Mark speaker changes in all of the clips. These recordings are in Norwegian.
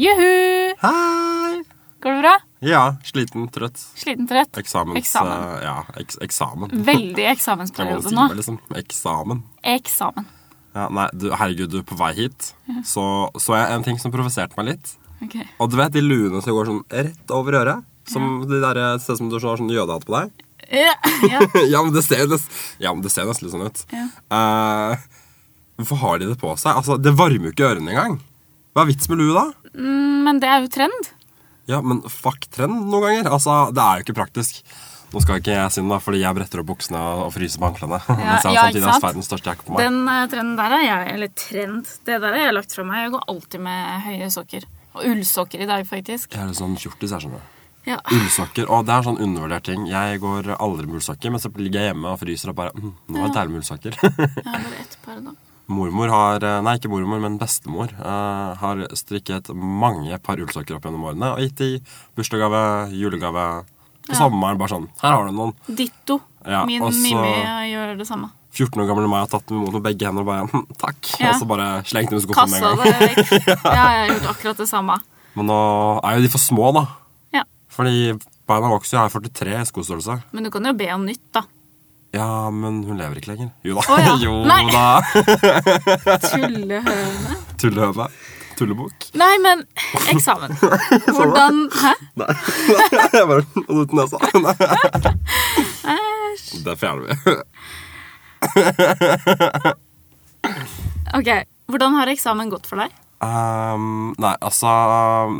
Speaker 1: Juhu!
Speaker 2: Hei!
Speaker 1: Går det bra?
Speaker 2: Ja, sliten, trøtt.
Speaker 1: Sliten, trøtt?
Speaker 2: Eksamens...
Speaker 1: Eksamen. Mm.
Speaker 2: eh, ja, eks eksamen.
Speaker 1: Veldig
Speaker 2: Jeg må jo
Speaker 1: eksamensperiode
Speaker 2: si
Speaker 1: nå.
Speaker 2: det, liksom. Eksamen.
Speaker 1: Eksamen.
Speaker 2: Ja, nei, du, herregud, du, på vei hit så, så jeg en ting som provoserte meg litt.
Speaker 1: Ok.
Speaker 2: Og du vet de luene som går sånn rett over øret? Som de der, det ser ut som du har sånn jødehatt på deg.
Speaker 1: Ja, ja.
Speaker 2: ja, men det ser, jo nest, ja, men det ser nesten litt sånn ut.
Speaker 1: Ja.
Speaker 2: Eh, hvorfor har de det på seg? Altså, Det varmer jo ikke ørene engang. Hva er vits med lue da?
Speaker 1: Mm, Men det er jo trend.
Speaker 2: Ja, men fuck trend noen ganger. Altså, Det er jo ikke praktisk. Nå skal ikke jeg si noe, da, fordi jeg bretter opp buksene og og fryser på anklene. Mens
Speaker 1: ja,
Speaker 2: jeg har
Speaker 1: ikke
Speaker 2: samtidig har
Speaker 1: sant?
Speaker 2: verdens største jakke på meg.
Speaker 1: Den eh, trenden der er jeg Eller trend. Det der har jeg lagt fra meg. Jeg går alltid med høye sokker. Og ullsokker i dag, faktisk.
Speaker 2: Jeg er litt sånn kjortis, jeg skjønner.
Speaker 1: Ja.
Speaker 2: Ullsokker. Og det er sånn undervurdert ting. Jeg går aldri med ullsokker, men så ligger jeg hjemme og fryser og bare mm, Nå er det deilig med ullsokker.
Speaker 1: Jeg har bare ett par, da.
Speaker 2: mormor har eh, Nei, ikke mormor, men bestemor eh, har strikket mange par ullsokker opp gjennom årene og gitt i bursdagsgave, julegave På sommeren bare sånn Her har du noen.
Speaker 1: Ditto.
Speaker 2: Ja,
Speaker 1: Min
Speaker 2: og så-
Speaker 1: Mimmi gjør det samme. «Kassa
Speaker 2: 14 år gamle meg har tatt den imot med begge hender og bare «Hm, takk.
Speaker 1: Ja.
Speaker 2: Og så bare slengt den i skuffen med en gang.
Speaker 1: det vekk. Ja, jeg har gjort akkurat det samme.
Speaker 2: Men nå er jo de for små, da.
Speaker 1: Ja.
Speaker 2: Fordi beina vokser. Jeg er 43 i skostørrelse.
Speaker 1: Men du kan jo be om nytt, da.
Speaker 2: Ja, men hun lever ikke lenger. Jo da.
Speaker 1: Å ja.
Speaker 2: jo
Speaker 1: Nei.
Speaker 2: da.
Speaker 1: Tullehøne.
Speaker 2: Tullehøne. Tullebukk.
Speaker 1: Nei, men eksamen. Hvordan Hæ?
Speaker 2: Nei. Jeg bare holdt ut nesa. Nei. Det fjerner vi.
Speaker 1: Ok, Hvordan har eksamen gått for deg?
Speaker 2: Ehm, nei, altså um,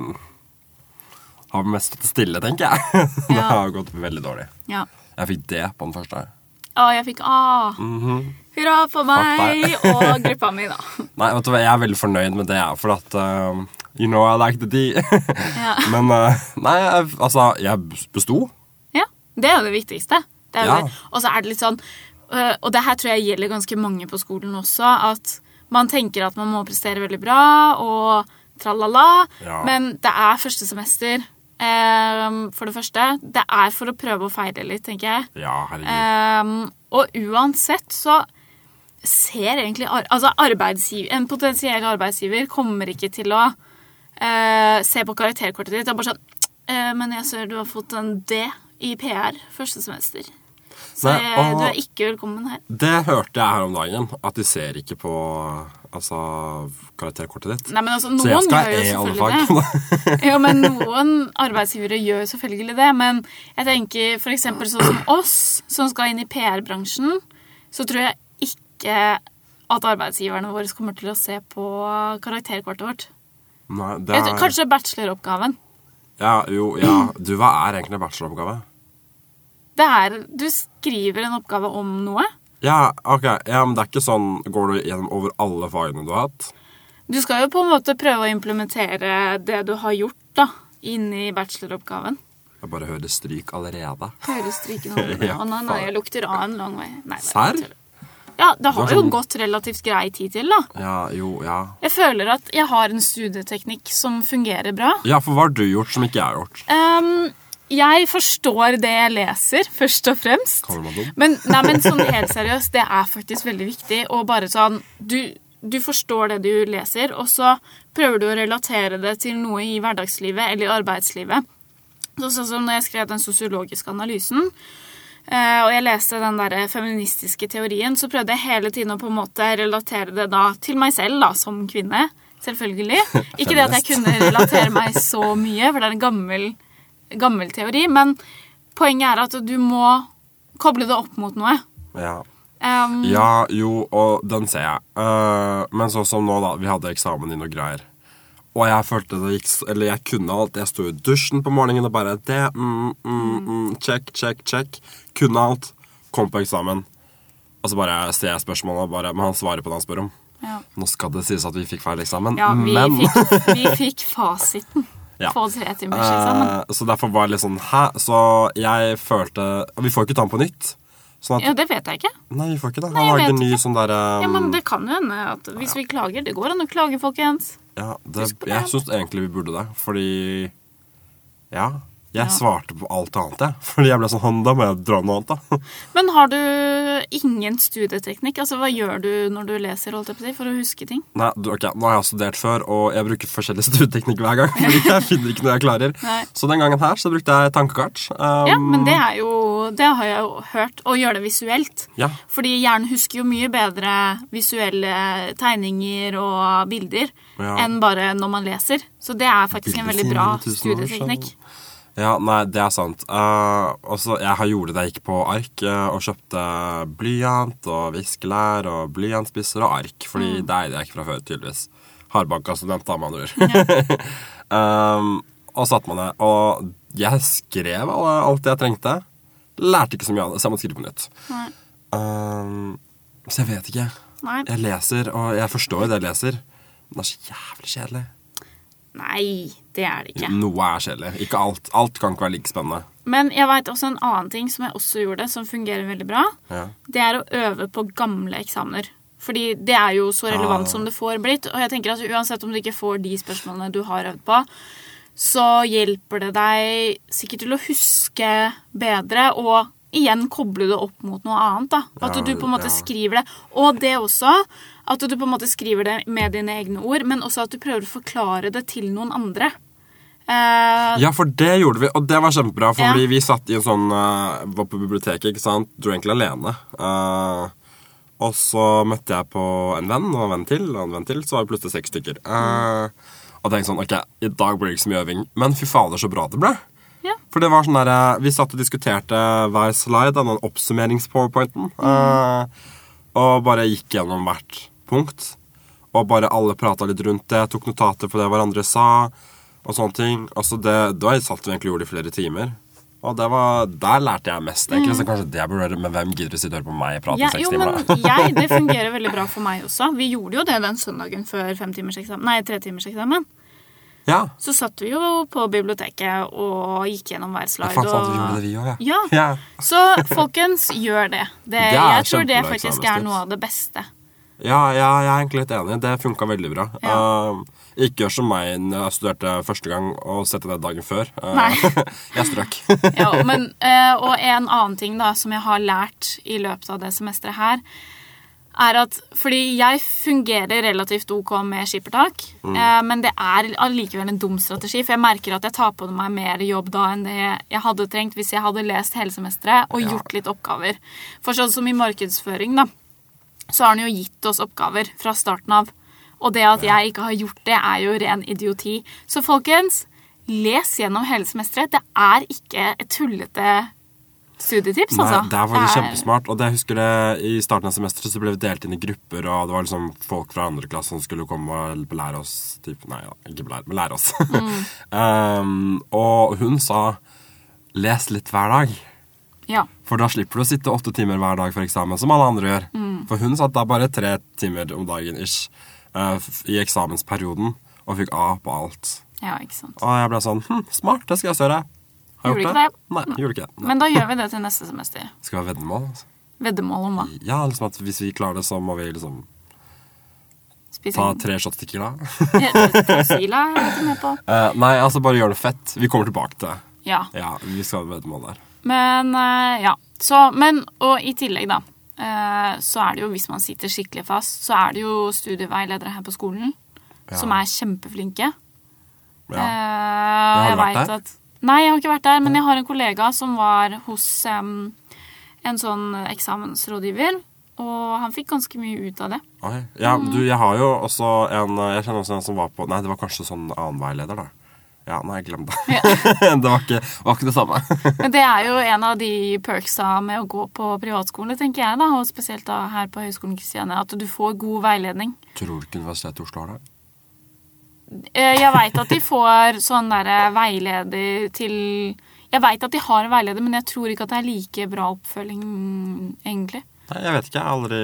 Speaker 2: Har mest stått stille, tenker jeg. Det
Speaker 1: Ja.
Speaker 2: har gått veldig dårlig.
Speaker 1: Ja.
Speaker 2: Jeg fikk det på den første.
Speaker 1: Å, jeg fikk A. Hurra for meg
Speaker 2: Mhm. Fuck
Speaker 1: og gruppa mi, da.
Speaker 2: Nei, vet du hva, jeg er veldig fornøyd med det, jeg, for at um, You know I like the D.
Speaker 1: Ja.
Speaker 2: Men eh, nei, jeg, altså Jeg besto.
Speaker 1: ja. Det er jo det viktigste. Det er jo
Speaker 2: Ja.
Speaker 1: det. Og så er det litt sånn øh, Og det her tror jeg gjelder ganske mange på skolen også, at man tenker at man må prestere veldig bra og tralala,
Speaker 2: Ja.
Speaker 1: men det er første semester. eh, for det første. Det er for å prøve å feile litt, tenker jeg.
Speaker 2: Ja, herregud.
Speaker 1: Ehm, og uansett så ser egentlig ar altså arbeidsgiver, En potensiell arbeidsgiver kommer ikke til å eh, se på karakterkortet ditt og bare sånn «Eh, Men jeg ser du har fått en D i PR første semester. Så
Speaker 2: Nei,
Speaker 1: eh,
Speaker 2: og-
Speaker 1: du er ikke velkommen her.
Speaker 2: Det hørte jeg her om dagen, at de ser ikke på altså, karakterkortet ditt.
Speaker 1: Nei, men altså,
Speaker 2: Så jeg
Speaker 1: noen
Speaker 2: skal
Speaker 1: gjør
Speaker 2: ha E
Speaker 1: jo
Speaker 2: i alle
Speaker 1: selvfølgelig det.
Speaker 2: fag.
Speaker 1: Jo, men noen arbeidsgivere gjør selvfølgelig det. Men jeg tenker for eksempel sånn som oss, som skal inn i PR-bransjen, så tror jeg ikke at arbeidsgiverne våre kommer til å se på karakterkortet vårt.
Speaker 2: Nei, det
Speaker 1: Jeg tror,
Speaker 2: er,
Speaker 1: kanskje bacheloroppgaven.
Speaker 2: ja, jo, ja. Du, hva er egentlig en bacheloroppgave?
Speaker 1: Det er, du skriver en oppgave om noe.
Speaker 2: Ja, ok. Ja, men det er ikke sånn Går du gjennom over alle fagene du har hatt?
Speaker 1: Du skal jo på en måte prøve å implementere det du har gjort da, inn i bacheloroppgaven.
Speaker 2: Jeg bare hører stryk allerede.
Speaker 1: Høres stryken over.
Speaker 2: Ja,
Speaker 1: Å nei, nei,
Speaker 2: faen.
Speaker 1: jeg lukter av en lang vei. Nei, det er
Speaker 2: Serr?
Speaker 1: bare tull. Ja, det har
Speaker 2: Det er
Speaker 1: jo
Speaker 2: sånn-
Speaker 1: gått relativt grei tid til, da.
Speaker 2: Ja, jo, ja.
Speaker 1: Jeg føler at jeg har en studieteknikk som fungerer bra.
Speaker 2: Ja, for hva har du gjort som ikke jeg har gjort?
Speaker 1: Ehm, jeg forstår det jeg leser, først og fremst.
Speaker 2: Kaller du meg dum?
Speaker 1: Men, nei, men sånn helt seriøst, det er faktisk veldig viktig. Og bare sånn du, du forstår det du leser, og så prøver du å relatere det til noe i hverdagslivet eller i arbeidslivet. Så, sånn som når jeg skrev den sosiologiske analysen, eh, og jeg leste den der eh, feministiske teorien, så prøvde jeg hele tiden å på en måte relatere det da til meg selv da, som kvinne. Selvfølgelig. Ikke det at jeg kunne relatere meg så mye, for det er en gammel, gammel teori, men poenget er at du må koble det opp mot noe.
Speaker 2: Ja.
Speaker 1: Um,
Speaker 2: ja, jo, og den ser jeg. Eh, men sånn som nå, da. Vi hadde eksamen i noe greier. Og jeg følte det gikk s- Eller jeg kunne alt. Jeg sto i dusjen på morgenen og bare det, mm, mm, mm, Check, check, check. Kunne alt. Kom på eksamen. Og så bare ser jeg spørsmålet, og bare, men han svarer på det han spør om.
Speaker 1: Ja.
Speaker 2: Nå skal det sies at vi fikk feil eksamen,
Speaker 1: Ja, vi,
Speaker 2: men
Speaker 1: fikk, vi fikk fasiten
Speaker 2: Ja.
Speaker 1: på tre timers eksamen.
Speaker 2: Eh, Så derfor var det litt sånn Hæ? Så jeg følte Vi får ikke ta den på nytt. Sånn at
Speaker 1: Ja, det vet jeg ikke.
Speaker 2: Nei, vi får ikke det.
Speaker 1: Nei, jeg
Speaker 2: Han lagde en
Speaker 1: vet
Speaker 2: ny sånn derre
Speaker 1: Ja, men det kan jo hende at hvis vi klager Det går an å klage, folkens.
Speaker 2: Ja, det,
Speaker 1: Husk på det.
Speaker 2: jeg syns egentlig vi burde det, fordi Ja. Jeg svarte på alt annet, jeg. Fordi jeg ble sånn «Han, Da må jeg dra noe annet, da.
Speaker 1: Men har du ingen studieteknikk? Altså, Hva gjør du når du leser holdt jeg på å si, for å huske ting?
Speaker 2: Nei, du, ok, Nå har jeg studert før, og jeg bruker forskjellige studieteknikker hver gang. Fordi jeg finner ikke noe jeg klarer.
Speaker 1: Nei.
Speaker 2: Så den gangen her så brukte jeg tankekart. Um,
Speaker 1: Ja, men det er jo Det har jeg jo hørt. Å gjøre det visuelt.
Speaker 2: Ja.
Speaker 1: Fordi hjernen husker jo mye bedre visuelle tegninger og bilder
Speaker 2: Ja.
Speaker 1: enn bare når man leser. Så det er faktisk en veldig bra
Speaker 2: Bilder siden tusen år
Speaker 1: studieteknikk.
Speaker 2: siden. Ja, nei, det er sant. Eh, også, jeg har gjorde det jeg gikk på ark, eh, og kjøpte blyant og viskelær og blyantspisser og ark. Fordi
Speaker 1: Mm.
Speaker 2: det eide jeg ikke fra før, tydeligvis. Hardbanka student, da, med andre ord. Ehm, og satt man det. Og jeg skrev alle, alt jeg trengte. Lærte ikke så mye av det, så jeg måtte skrive på nytt.
Speaker 1: Nei.
Speaker 2: Ehm, så jeg vet ikke.
Speaker 1: Nei.
Speaker 2: Jeg leser, og jeg forstår jo det jeg leser. Men det er så jævlig kjedelig.
Speaker 1: Nei, det er det ikke.
Speaker 2: Noe er kjedelig. Ikke alt. Alt kan ikke være like spennende.
Speaker 1: Men jeg veit også en annen ting som jeg også gjorde, som fungerer veldig bra.
Speaker 2: Ja.
Speaker 1: Det er å øve på gamle eksamener. Fordi det er jo så relevant
Speaker 2: Ah.
Speaker 1: som det får blitt. Og jeg tenker at uansett om du ikke får de spørsmålene du har øvd på, så hjelper det deg sikkert til å huske bedre og igjen koble det opp mot noe annet. da. At
Speaker 2: Ja,
Speaker 1: du på en måte
Speaker 2: ja.
Speaker 1: skriver det. Og det også. At du på en måte skriver det med dine egne ord, men også at du prøver å forklare det til noen andre. Eh,
Speaker 2: Ja, for det gjorde vi, og det var kjempebra.
Speaker 1: Ja.
Speaker 2: Fordi vi satt i en sånn eh, Var på biblioteket, ikke sant. Dro egentlig alene. Eh, og så møtte jeg på en venn og en venn til, og en venn til, så var vi plutselig seks stykker. Eh, Og tenkte sånn Ok, i dag blir det ikke så mye øving, men fy fader, så bra det ble.
Speaker 1: Ja.
Speaker 2: For det var sånn der, eh, Vi satt og diskuterte hver slide av den oppsummerings-powerpointen. eh, og bare gikk gjennom hvert punkt. Og bare alle prata litt rundt det, tok notater på det hverandre sa. Og sånne ting. Altså det, det var satt vi egentlig og gjorde i flere timer. Og det var, der lærte jeg mest, egentlig. Så kanskje det jeg burde gjøre, men hvem gidder å sitte og høre på meg prate i
Speaker 1: Mm. Ja,
Speaker 2: seks
Speaker 1: jo,
Speaker 2: timer, da?
Speaker 1: men jeg, det fungerer veldig bra for meg også. Vi gjorde jo det den søndagen før femtimerseksamen, nei, tretimerseksamen.
Speaker 2: Ja.
Speaker 1: Så satt vi jo på biblioteket og gikk gjennom hver
Speaker 2: Jeg
Speaker 1: slide.
Speaker 2: fant sant
Speaker 1: og-
Speaker 2: vi gjorde det, vi òg,
Speaker 1: Ja.
Speaker 2: Ja.
Speaker 1: Så folkens, gjør det. det
Speaker 2: er
Speaker 1: jeg tror det
Speaker 2: kjempebra
Speaker 1: faktisk
Speaker 2: eksamenstips.
Speaker 1: er noe av det beste.
Speaker 2: Ja, ja, jeg er egentlig litt enig. Det funka veldig bra.
Speaker 1: Ja.
Speaker 2: Um, ikke gjør som meg når jeg studerte første gang og sette ned dagen før. Uh,
Speaker 1: Nei.
Speaker 2: jeg strøk.
Speaker 1: Ja, men, eh, og en annen ting da, som jeg har lært i løpet av det semesteret her, er at fordi jeg fungerer relativt ok med skippertak, eh, men det er allikevel en dum strategi, for jeg merker at jeg tar på meg mer jobb da enn det jeg hadde trengt hvis jeg hadde lest hele semesteret og
Speaker 2: Ja.
Speaker 1: gjort litt oppgaver. For sånn som i markedsføring, da, så har han jo gitt oss oppgaver fra starten av. Og det at jeg ikke har gjort det, er jo ren idioti. Så folkens, les gjennom hele semesteret. Det er ikke et tullete studietips,
Speaker 2: Nei,
Speaker 1: altså.
Speaker 2: det er faktisk
Speaker 1: Det er-
Speaker 2: kjempesmart. Og det jeg husker det, I starten av semesteret så ble vi delt inn i grupper, og det var liksom folk fra andre klasse som skulle komme og belære oss. Typ, nei, ja, ikke belære, men lære oss.
Speaker 1: Mm.
Speaker 2: um, og hun sa 'les litt hver dag'.
Speaker 1: Ja.
Speaker 2: For da slipper du å sitte åtte timer hver dag for eksamen, som alle andre gjør.
Speaker 1: Mm.
Speaker 2: For hun satt da bare tre timer om dagen ish eh, f- i eksamensperioden og fikk A på alt.
Speaker 1: ja, ikke sant.
Speaker 2: Og jeg ble sånn hm, Smart, det skal jeg også gjøre. Har jeg
Speaker 1: Gjorde
Speaker 2: gjort
Speaker 1: ikke
Speaker 2: det?
Speaker 1: det?
Speaker 2: Nei, gjorde ikke det. Nei.
Speaker 1: Men da gjør vi det til neste semester.
Speaker 2: Skal vi ha veddemål? altså?
Speaker 1: Veddemål om hva?
Speaker 2: Ja, liksom at hvis vi klarer det, så må vi liksom
Speaker 1: Spise
Speaker 2: ta tre shots tequila.
Speaker 1: Tequila er jeg ikke med på.
Speaker 2: Eh, nei, altså bare gjør det fett. Vi kommer tilbake til det.
Speaker 1: Ja.
Speaker 2: Ja, vi skal ha veddemål der.
Speaker 1: Men eh, ja. Så, men, og i tillegg, da, eh, så er det jo, hvis man sitter skikkelig fast, så er det jo studieveiledere her på skolen
Speaker 2: Ja.
Speaker 1: som er kjempeflinke. Eh, og
Speaker 2: Ja. har
Speaker 1: jeg
Speaker 2: du vært
Speaker 1: vet
Speaker 2: der?
Speaker 1: At, nei, jeg har ikke vært der, men jeg har en kollega som var hos em, en sånn eksamensrådgiver, og han fikk ganske mye ut av det.
Speaker 2: Oi. Ja,
Speaker 1: Mm.
Speaker 2: du, jeg har jo også en Jeg kjenner også en som var på Nei, det var kanskje sånn annen veileder, da. Ja, nei, glem det. det var ikke, var ikke det samme.
Speaker 1: Men det er jo en av de perksa med å gå på privatskole, tenker jeg, da, og spesielt da her på Høgskolen Kristiania, at du får god veiledning.
Speaker 2: Tror du ikke Universitetet i Oslo har det?
Speaker 1: Eh, Jeg veit at de får sånn derre veileder til Jeg veit at de har en veileder, men jeg tror ikke at det er like bra oppfølging, egentlig.
Speaker 2: Nei, jeg vet ikke. Jeg har aldri,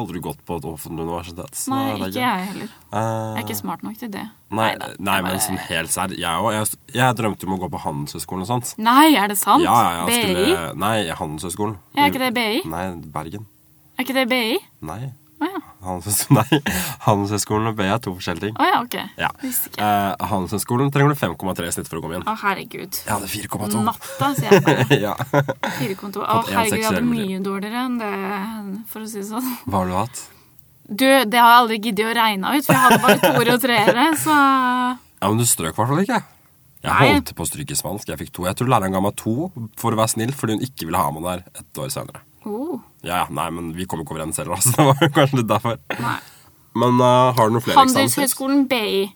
Speaker 2: aldri gått på et offentlig universitet. så
Speaker 1: Nei,
Speaker 2: det er
Speaker 1: ikke jeg heller.
Speaker 2: Eh,
Speaker 1: Jeg er ikke smart nok til det.
Speaker 2: nei,
Speaker 1: Neida,
Speaker 2: nei,
Speaker 1: det er
Speaker 2: men
Speaker 1: bare-
Speaker 2: sånn helt serr. Jeg òg. Jeg, jeg drømte om å gå på Handelshøyskolen og sånt.
Speaker 1: Nei, er det sant?
Speaker 2: Ja, ja, jeg
Speaker 1: BI?
Speaker 2: skulle Nei, Handelshøyskolen.
Speaker 1: Ja, er ikke det BI?
Speaker 2: Nei, Bergen.
Speaker 1: Er ikke det BI?
Speaker 2: Nei.
Speaker 1: Å ja.
Speaker 2: Handelshøyskolen Nei, Handelshøyskolen og BI er to forskjellige ting.
Speaker 1: Å ja, OK.
Speaker 2: Ja.
Speaker 1: Visste ikke.
Speaker 2: Eh, Handelshøyskolen trenger du 5,3 i snitt for å komme inn.
Speaker 1: Å, herregud.
Speaker 2: Jeg hadde 4,2.
Speaker 1: Natta, sier jeg bare.
Speaker 2: ja.
Speaker 1: Firekontor. Å,
Speaker 2: Fått en
Speaker 1: herregud, jeg hadde
Speaker 2: seksuell
Speaker 1: mye dårligere enn det, for å si det sånn.
Speaker 2: Hva har du hatt?
Speaker 1: Du, det har jeg aldri giddet å regne ut, for jeg hadde bare toere og treere, så
Speaker 2: Ja, men du strøk i hvert fall ikke. Jeg
Speaker 1: Nei.
Speaker 2: holdt på å stryke i spansk. Jeg fikk to. Jeg tror læreren ga meg to for å være snill, fordi hun ikke ville ha meg der et år senere.
Speaker 1: oh,
Speaker 2: Ja, ja, nei, men vi kom ikke overens heller, altså. Det var kanskje litt derfor.
Speaker 1: nei.
Speaker 2: Men eh, har du noen flere eksamenstips?
Speaker 1: Handelshøyskolen BI.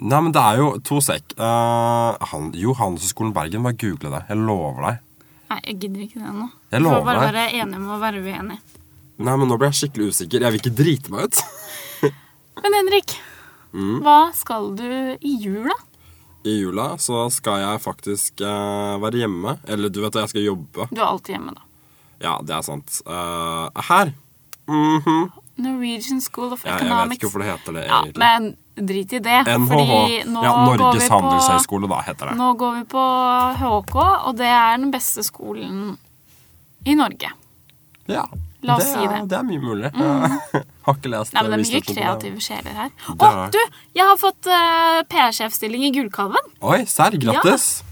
Speaker 2: Nei, men det er jo to sekk. Eh, han, jo, Handelshøyskolen Bergen, bare google det. Jeg lover deg.
Speaker 1: Nei, jeg gidder ikke det nå. Vi
Speaker 2: Jeg
Speaker 1: får
Speaker 2: lover
Speaker 1: bare
Speaker 2: deg.
Speaker 1: være enige om å være uenige.
Speaker 2: Nei, men nå ble jeg skikkelig usikker. Jeg vil ikke drite meg ut.
Speaker 1: Men Henrik,
Speaker 2: Mm.
Speaker 1: hva skal du i jula?
Speaker 2: I jula så skal jeg faktisk eh, være hjemme. Eller du vet det, jeg skal jobbe.
Speaker 1: Du er alltid hjemme, da.
Speaker 2: Ja, det er sant. Eh, her. Mhm.
Speaker 1: Norwegian School of
Speaker 2: ja, jeg vet
Speaker 1: Economics.
Speaker 2: ikke hvorfor det heter det
Speaker 1: ja,
Speaker 2: egentlig.
Speaker 1: men drit i det,
Speaker 2: NHH.
Speaker 1: fordi nå
Speaker 2: Ja,
Speaker 1: går vi
Speaker 2: Norges
Speaker 1: på Mm.
Speaker 2: handelshøyskole, da, heter det.
Speaker 1: Nå går vi på HK, og det er den beste skolen i Norge.
Speaker 2: Ja,
Speaker 1: La oss
Speaker 2: det,
Speaker 1: si
Speaker 2: er-
Speaker 1: det. Mm.
Speaker 2: det er mye mulig. Jeg Har ikke lest
Speaker 1: Nei, men Det er mye
Speaker 2: researchen på det.
Speaker 1: kreative sjeler her.
Speaker 2: Det
Speaker 1: Å,
Speaker 2: er-
Speaker 1: du! Jeg har fått eh, PR-sjefstilling i Gullkalven.
Speaker 2: Oi, serr, grattis!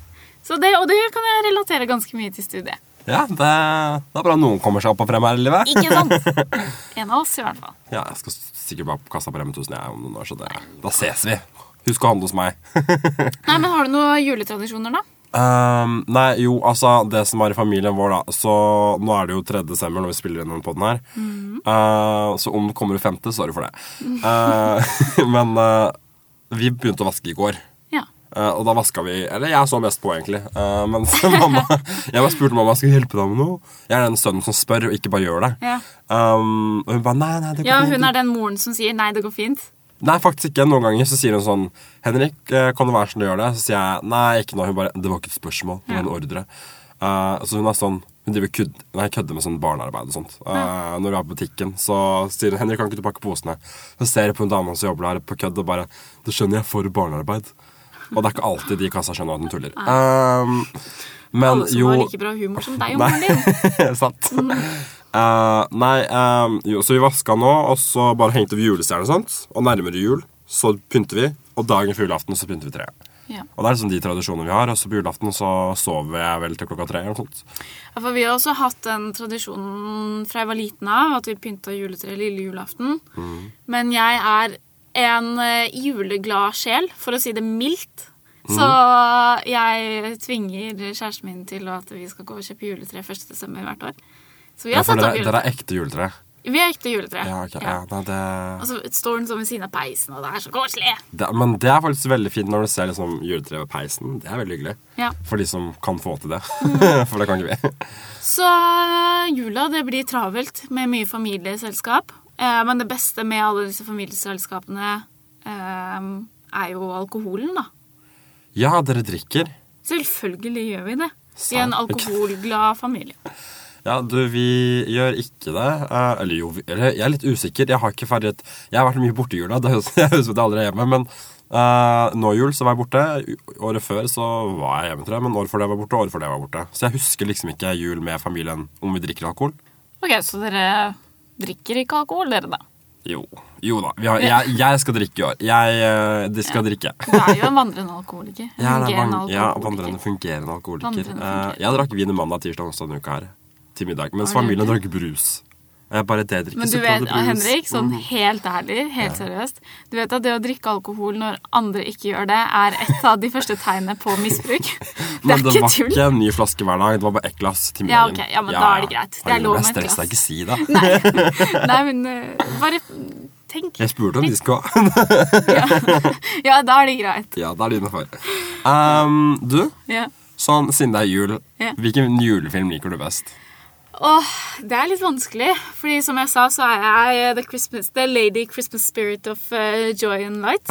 Speaker 1: Så det, og det kan jeg relatere ganske mye til studiet.
Speaker 2: Ja, det, det er bra noen kommer seg opp og frem her i livet.
Speaker 1: Ikke sant? En av oss, i hvert fall.
Speaker 2: Ja, jeg skal sikkert bare på Kassa på Rema 1000 jeg om noen år, så det, da ses vi. Husk å handle hos meg.
Speaker 1: Nei, men Har du noen juletradisjoner, da?
Speaker 2: Ehm, nei, jo, altså Det som er i familien vår, da Så nå er det jo 3. desember når vi spiller inn denne podden her.
Speaker 1: Mm.
Speaker 2: Eh, så om det kommer en femte, sorry for det. Eh, men eh, vi begynte å vaske i går.
Speaker 1: Ja.
Speaker 2: Eh, og da vaska vi Eller jeg så mest på, egentlig. Eh, men så mamma Jeg bare spurte mamma skal jeg hjelpe deg med noe. Jeg er den sønnen som spør, og ikke bare gjør det.
Speaker 1: Ja.
Speaker 2: Ehm, og hun bare nei, nei, det går
Speaker 1: ja,
Speaker 2: fint,
Speaker 1: hun
Speaker 2: det
Speaker 1: er den moren som sier 'nei, det går fint'.
Speaker 2: Nei, faktisk ikke. Noen ganger så sier hun sånn 'Henrik, eh, kan du være sånn du gjør det?' Så sier jeg nei, ikke nå. Hun bare 'Det var ikke et spørsmål. Det var en ordre'. Eh, så hun er sånn Hun driver kødd, nei, kødder med sånn barnearbeid og sånt. Eh, Når vi er på butikken, så sier hun 'Henrik, kan ikke du pakke posene?' Så ser jeg på hun dama som jobber der, på kødd, og bare 'Det skjønner jeg for barnearbeid'. Og det er ikke alltid de i kassa skjønner at hun tuller. Ehm, men
Speaker 1: Alle som har
Speaker 2: jo
Speaker 1: like bra humor som deg og moren din.
Speaker 2: Nei, sant. Eh, nei, eh, jo, så vi vaska nå, og så bare hengte vi julestjerner og sånt. Og nærmere jul så pynter vi, og dagen før julaften så pynter vi treet.
Speaker 1: Ja.
Speaker 2: Og det er liksom de tradisjonene vi har, og så på julaften så sover jeg vel til klokka tre eller noe sånt.
Speaker 1: Ja, for Vi har også hatt den tradisjonen fra jeg var liten av, at vi pynta juletreet lille julaften.
Speaker 2: Mm.
Speaker 1: Men jeg er en eh, juleglad sjel, for å si det mildt.
Speaker 2: Mm.
Speaker 1: Så jeg tvinger kjæresten min til at vi skal gå og kjøpe juletre 1. desember hvert år. Så vi har
Speaker 2: Ja, for
Speaker 1: satt opp
Speaker 2: dere, dere
Speaker 1: juletre.
Speaker 2: er ekte juletre.
Speaker 1: Vi er ekte juletre.
Speaker 2: Ja, ok, ja,
Speaker 1: Ja.
Speaker 2: nei, det,
Speaker 1: Og så står den sånn ved siden av peisen, og det er så koselig.
Speaker 2: det, men det er faktisk veldig fint når du ser liksom juletreet ved peisen. Det er veldig hyggelig.
Speaker 1: Ja.
Speaker 2: For de som kan få til det. For det kan ikke vi.
Speaker 1: Så eh, jula, det blir travelt med mye familieselskap. Eh, men det beste med alle disse familieselskapene eh, er jo alkoholen, da.
Speaker 2: Ja, dere drikker.
Speaker 1: Selvfølgelig gjør vi det. Vi er
Speaker 2: Sant.
Speaker 1: en alkoholglad familie.
Speaker 2: Ja, du, vi gjør ikke det. Eh, eller jo, vi, eller, jeg er litt usikker. Jeg har ikke feiret Jeg har vært mye borte i jula. Det høres jeg høres ut som jeg aldri er hjemme, men eh, nå i jul så var jeg borte. U- Året før så var jeg hjemme, tror jeg, men året før det var jeg borte, året før det var jeg borte. Så jeg husker liksom ikke jul med familien om vi drikker alkohol.
Speaker 1: Ok, Så dere drikker ikke alkohol, dere, da?
Speaker 2: Jo. Jo da. Vi har, jeg, jeg skal drikke i år. Jeg eh, de skal drikke.
Speaker 1: Du er jo en vandrende alkoholiker.
Speaker 2: Jeg er en
Speaker 1: Fungerende
Speaker 2: van- ja,
Speaker 1: alkoholiker.
Speaker 2: vandrende fungerende alkoholiker.
Speaker 1: Vandrende
Speaker 2: Eh,
Speaker 1: fungerende.
Speaker 2: jeg drakk vin mandag, tirsdag, onsdag denne uka her til middag. Mens
Speaker 1: Har du
Speaker 2: familien
Speaker 1: gjort
Speaker 2: drakk brus. Jeg bare det drikker
Speaker 1: Men du
Speaker 2: så bra
Speaker 1: vet,
Speaker 2: det brus. Mm.
Speaker 1: Henrik, sånn helt ærlig, helt seriøst Du vet at det å drikke alkohol når andre ikke gjør det, er et av de første tegnene på misbruk. Det
Speaker 2: Men
Speaker 1: er
Speaker 2: det
Speaker 1: ikke
Speaker 2: var
Speaker 1: tull.
Speaker 2: ikke en ny flaske hver dag. Det var bare ett glass til
Speaker 1: Ja,
Speaker 2: middagen.
Speaker 1: ok. Ja, men da er det greit. Det er
Speaker 2: Herregud,
Speaker 1: lov
Speaker 2: jeg
Speaker 1: med et
Speaker 2: stresset,
Speaker 1: glass.
Speaker 2: Ikke si det.
Speaker 1: Nei, men eh, bare tenk.
Speaker 2: Jeg spurte om de skal
Speaker 1: Ja, da er det greit.
Speaker 2: Ja, da er det innafor. Um, du,
Speaker 1: Ja.
Speaker 2: sånn siden det er jul,
Speaker 1: Ja.
Speaker 2: hvilken julefilm liker du best?
Speaker 1: Åh, det er litt vanskelig, fordi som jeg sa, så er jeg eh, The, Christmas, the Lady Christmas Spirit of eh, Joy and Light.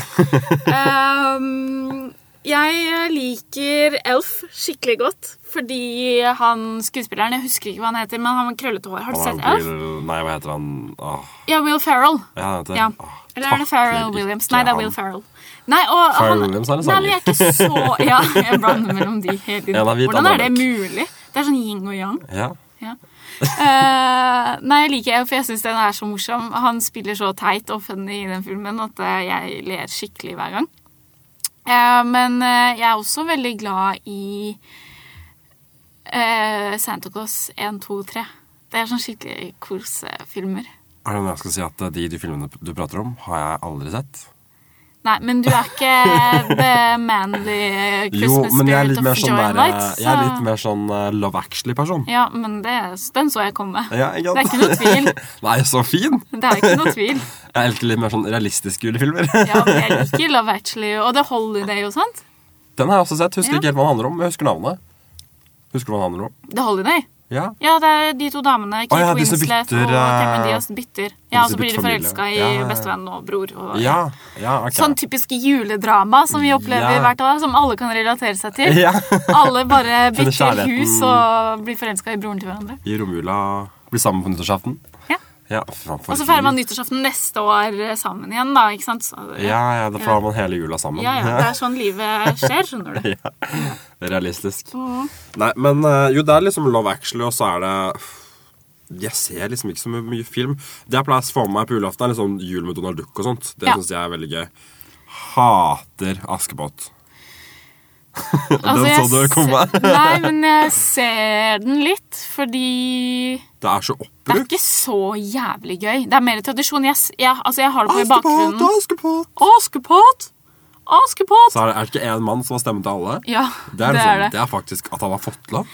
Speaker 1: Ehm, jeg liker Elf skikkelig godt, fordi han skuespilleren, jeg husker ikke hva han heter, men han med krøllete hår. Har du
Speaker 2: Han
Speaker 1: sett
Speaker 2: er
Speaker 1: Elf?
Speaker 2: Will Nei, hva heter han? Åh,
Speaker 1: Ja, Will Ferrell.
Speaker 2: ja, han heter
Speaker 1: Ja.
Speaker 2: Åh,
Speaker 1: Eller er det Farrell
Speaker 2: takler
Speaker 1: Williams?
Speaker 2: ikke
Speaker 1: Nei, det er
Speaker 2: han.
Speaker 1: Will Ferrell. Nei, og
Speaker 2: Pharrell
Speaker 1: han,
Speaker 2: Williams er en
Speaker 1: Nei, men jeg er ikke så Ja, jeg blander mellom de hele tiden.
Speaker 2: En er hvit,
Speaker 1: Hvordan
Speaker 2: annen
Speaker 1: er det
Speaker 2: er
Speaker 1: mulig? Det er sånn yin og yang.
Speaker 2: Ja.
Speaker 1: Ja. Eh, nei, jeg liker det, for jeg syns den er så morsom. Han spiller så teit og funny i den filmen at eh, jeg ler skikkelig hver gang. Eh, men eh, jeg er også veldig glad i eh, Santa Claus 1, 2, 3. Det er sånn skikkelig kosefilmer.
Speaker 2: Er det noe jeg skal si at eh, de, de filmene du prater om, har jeg aldri sett?
Speaker 1: Nei, men du er ikke the manly
Speaker 2: Jo,
Speaker 1: Christmas
Speaker 2: men jeg er
Speaker 1: spirit
Speaker 2: litt
Speaker 1: of
Speaker 2: mer sånn,
Speaker 1: Joy
Speaker 2: der,
Speaker 1: and Light. Så...
Speaker 2: jeg er litt mer sånn eh, Love Actually-person.
Speaker 1: Ja, men det, den så jeg komme.
Speaker 2: Ja,
Speaker 1: det
Speaker 2: ikke
Speaker 1: er
Speaker 2: sant?
Speaker 1: ikke noe tvil.
Speaker 2: Nei, så fin!
Speaker 1: Det er ikke noe tvil.
Speaker 2: Jeg elsker litt mer sånn realistiske julefilmer.
Speaker 1: Ja, men jeg liker Love Actually og The Holiday og sånt.
Speaker 2: Den har jeg også sett. Husker
Speaker 1: Ja.
Speaker 2: ikke helt hva den handler om, men jeg husker navnet. Husker du hva den handler om?
Speaker 1: The Holiday.
Speaker 2: Ja.
Speaker 1: Ja, det er de to damene, Kate
Speaker 2: ja, de som
Speaker 1: Winslet
Speaker 2: bytter,
Speaker 1: og Cameron
Speaker 2: eh,
Speaker 1: Diaz, bytter. Ja, og så
Speaker 2: som
Speaker 1: blir
Speaker 2: bytter
Speaker 1: de
Speaker 2: familie.
Speaker 1: forelska i
Speaker 2: Ja, ja, ja.
Speaker 1: bestevenn og bror. Og,
Speaker 2: Ja, ja ok.
Speaker 1: Sånn typisk juledrama som vi opplever
Speaker 2: Ja.
Speaker 1: hvert år, som alle kan relatere seg til.
Speaker 2: Ja.
Speaker 1: Alle bare
Speaker 2: Finner
Speaker 1: bytter
Speaker 2: kjærligheten.
Speaker 1: hus og blir forelska i broren til hverandre.
Speaker 2: I romjula blir sammen på nyttårsaften.
Speaker 1: Ja.
Speaker 2: Ja, fy faen, for
Speaker 1: Og så
Speaker 2: et
Speaker 1: feirer
Speaker 2: liv.
Speaker 1: man nyttårsaften neste år eh, sammen igjen, da. ikke sant? Så,
Speaker 2: Ja, ja, da får man hele jula sammen.
Speaker 1: ja, ja. Det er sånn livet skjer, skjønner du.
Speaker 2: Realistisk.
Speaker 1: Mhm.
Speaker 2: Nei, men eh, jo, det er liksom Love Actually, og så er det Jeg ser liksom ikke så mye- mye film. Det jeg pleier å få med meg på julaften, er liksom jul med Donald Duck og sånt. Det
Speaker 1: Ja.
Speaker 2: synes syns jeg er veldig gøy. Hater Askepott. den så du
Speaker 1: Altså, jeg
Speaker 2: komme.
Speaker 1: ser- Nei, men jeg ser den litt, fordi
Speaker 2: Det er så
Speaker 1: det er
Speaker 2: oppbrukt.
Speaker 1: ikke så jævlig gøy. Det er mer tradisjon. Jeg, s- jeg, altså, jeg har det på i
Speaker 2: Askepott,
Speaker 1: bakgrunnen.
Speaker 2: Askepott!
Speaker 1: Askepott! Askepott!
Speaker 2: Så er det, er det ikke én mann som har stemmen til alle?
Speaker 1: Ja,
Speaker 2: Det er, sånn, det. er faktisk at han har fått lov.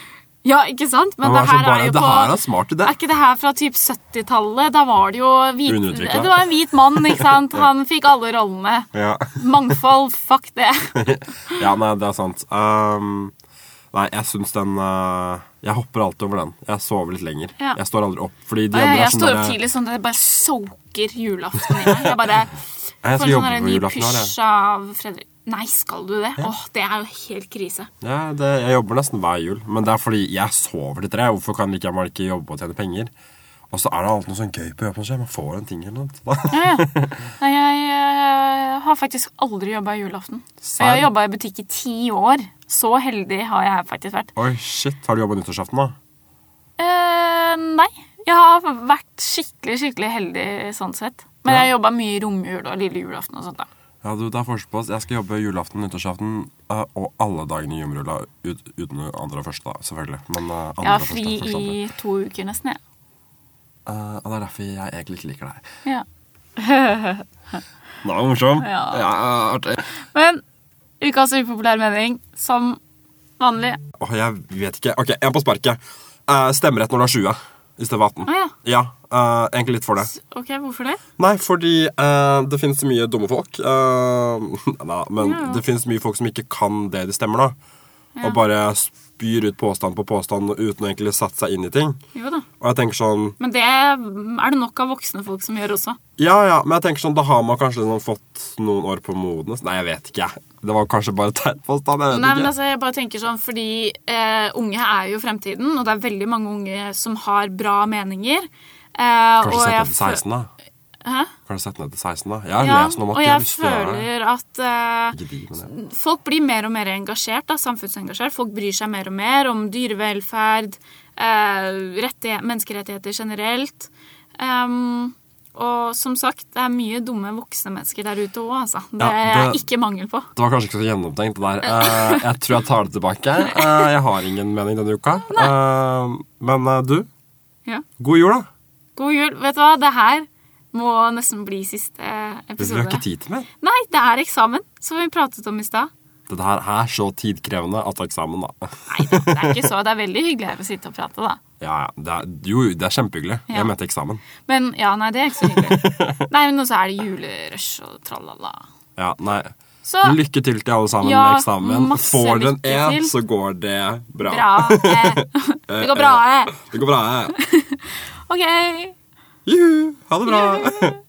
Speaker 1: Ja, ikke sant? Men
Speaker 2: Han
Speaker 1: det
Speaker 2: var sånn
Speaker 1: her
Speaker 2: bare,
Speaker 1: er jo
Speaker 2: det
Speaker 1: på
Speaker 2: her er smart idé.
Speaker 1: Er ikke det her fra typ 70-tallet? Da var det jo hvit,
Speaker 2: Underutviklet.
Speaker 1: Det var en hvit mann, ikke sant? Han fikk alle rollene.
Speaker 2: Ja.
Speaker 1: Mangfold, fuck det.
Speaker 2: ja, nei, det er sant. Ehm, nei, jeg syns den eh, Jeg hopper alltid over den. Jeg sover litt lenger.
Speaker 1: Ja.
Speaker 2: Jeg står aldri opp. Fordi de
Speaker 1: Og jeg,
Speaker 2: andre er
Speaker 1: jeg
Speaker 2: sånn
Speaker 1: står
Speaker 2: der-
Speaker 1: opp tidlig sånn at det bare soaker julaften i meg. Jeg bare
Speaker 2: Nei,
Speaker 1: får
Speaker 2: Jeg skal
Speaker 1: en sånn
Speaker 2: jobbe
Speaker 1: der
Speaker 2: på
Speaker 1: ny
Speaker 2: julaften her, jeg.
Speaker 1: push av Fredrik. Nei, skal du det? Åh, det er jo helt krise.
Speaker 2: Ja, det, jeg jobber nesten hver jul. Men det er fordi jeg sover til tre. Hvorfor kan ikke jeg bare ikke jobbe og tjene penger? Og så er det alltid noe sånn gøy på jobben som skjer. Man får en ting eller noe.
Speaker 1: Ja, ja. Nei, jeg eh, har faktisk aldri jobba julaften. Og Jeg har
Speaker 2: Serr?
Speaker 1: jobba i butikk i ti år. Så heldig har jeg faktisk vært.
Speaker 2: Oi, shit. Har du jobba nyttårsaften, da?
Speaker 1: Eh, nei. Jeg har vært skikkelig skikkelig heldig sånn sett. Men
Speaker 2: Ja.
Speaker 1: jeg jobba mye i romjul og lille julaften og sånt. da.
Speaker 2: Ja, du, det er forskjell på oss. Jeg skal jobbe julaften, nyttårsaften eh, og alle dagene i jumrulla ut, uten andre og første, da, selvfølgelig. Men eh, andre
Speaker 1: Jeg
Speaker 2: og
Speaker 1: har
Speaker 2: første,
Speaker 1: fri
Speaker 2: første, andre.
Speaker 1: i to uker nesten, jeg.
Speaker 2: Eh, og det er derfor jeg egentlig ikke liker deg.
Speaker 1: Ja.
Speaker 2: Nå er det morsom.
Speaker 1: Ja.
Speaker 2: artig.
Speaker 1: Men ukas upopulær mening, som vanlig.
Speaker 2: Åh, jeg vet ikke. Ok, jeg er på sparket. Eh, stemmerett når du er 20 i stedet for 18.
Speaker 1: Å,
Speaker 2: ja. eh, egentlig litt for det.
Speaker 1: Ok, hvorfor det?
Speaker 2: Nei, fordi eh, det finnes mye dumme folk. eh, nei, men det finnes mye folk som ikke kan det de stemmer, da. Og bare spyr ut påstand på påstand uten å egentlig sette seg inn i ting.
Speaker 1: Jo da.
Speaker 2: Og jeg tenker sånn
Speaker 1: Men det er det nok av voksne folk som gjør også.
Speaker 2: Ja, ja, men jeg tenker sånn, da har man kanskje liksom fått noen år på modnes. Nei, jeg vet ikke. jeg. Det var kanskje bare teit påstand. Jeg vet
Speaker 1: Nei, men
Speaker 2: ikke.
Speaker 1: altså, jeg bare tenker sånn, fordi eh, Unge er jo fremtiden, og det er veldig mange unge som har bra meninger. Eh,
Speaker 2: Kanskje
Speaker 1: og jeg
Speaker 2: sette ned til
Speaker 1: fø-
Speaker 2: 16, da.
Speaker 1: Hæ?
Speaker 2: Kanskje sette ned til 16, da. Jeg har
Speaker 1: Ja,
Speaker 2: lest noe om
Speaker 1: og
Speaker 2: at de har
Speaker 1: jeg
Speaker 2: lyst til å gjøre det.
Speaker 1: føler at eh,
Speaker 2: Ikke de, men jeg.
Speaker 1: folk blir mer og mer engasjert, da, samfunnsengasjert. Folk bryr seg mer og mer om dyrevelferd, eh, rettighe- menneskerettigheter generelt. Ehm, og som sagt, det er mye dumme voksne mennesker der ute òg, altså. Det
Speaker 2: Ja,
Speaker 1: er
Speaker 2: det-
Speaker 1: ikke mangel på.
Speaker 2: Det var kanskje ikke så gjennomtenkt, det der. Eh, jeg tror jeg tar det tilbake. Eh, jeg har ingen mening denne uka. Eh, men eh, du,
Speaker 1: Ja.
Speaker 2: god jul, da.
Speaker 1: God jul. Vet du hva, det her må nesten bli siste
Speaker 2: Hvis vi har
Speaker 1: episode.
Speaker 2: ikke tid til mer.
Speaker 1: Nei, det er eksamen, som vi pratet om i stad.
Speaker 2: Dette her er så tidkrevende at det er eksamen, da.
Speaker 1: Nei da, det er ikke så. Det er veldig hyggelig her å sitte og prate, da.
Speaker 2: Ja, ja. Det er, jo, det er kjempehyggelig.
Speaker 1: Ja.
Speaker 2: Jeg mente eksamen.
Speaker 1: Men ja, nei, det er ikke så hyggelig. Nei, men også er det julerush og tralala.
Speaker 2: Ja, nei.
Speaker 1: Så
Speaker 2: Lykke til til alle sammen
Speaker 1: Ja,
Speaker 2: med eksamen.
Speaker 1: masse
Speaker 2: Får du en
Speaker 1: lykke
Speaker 2: E,
Speaker 1: til.
Speaker 2: så går det bra.
Speaker 1: bra. eh. Det går bra. eh.
Speaker 2: Det går bra.
Speaker 1: OK.
Speaker 2: Juhu! Ha det bra.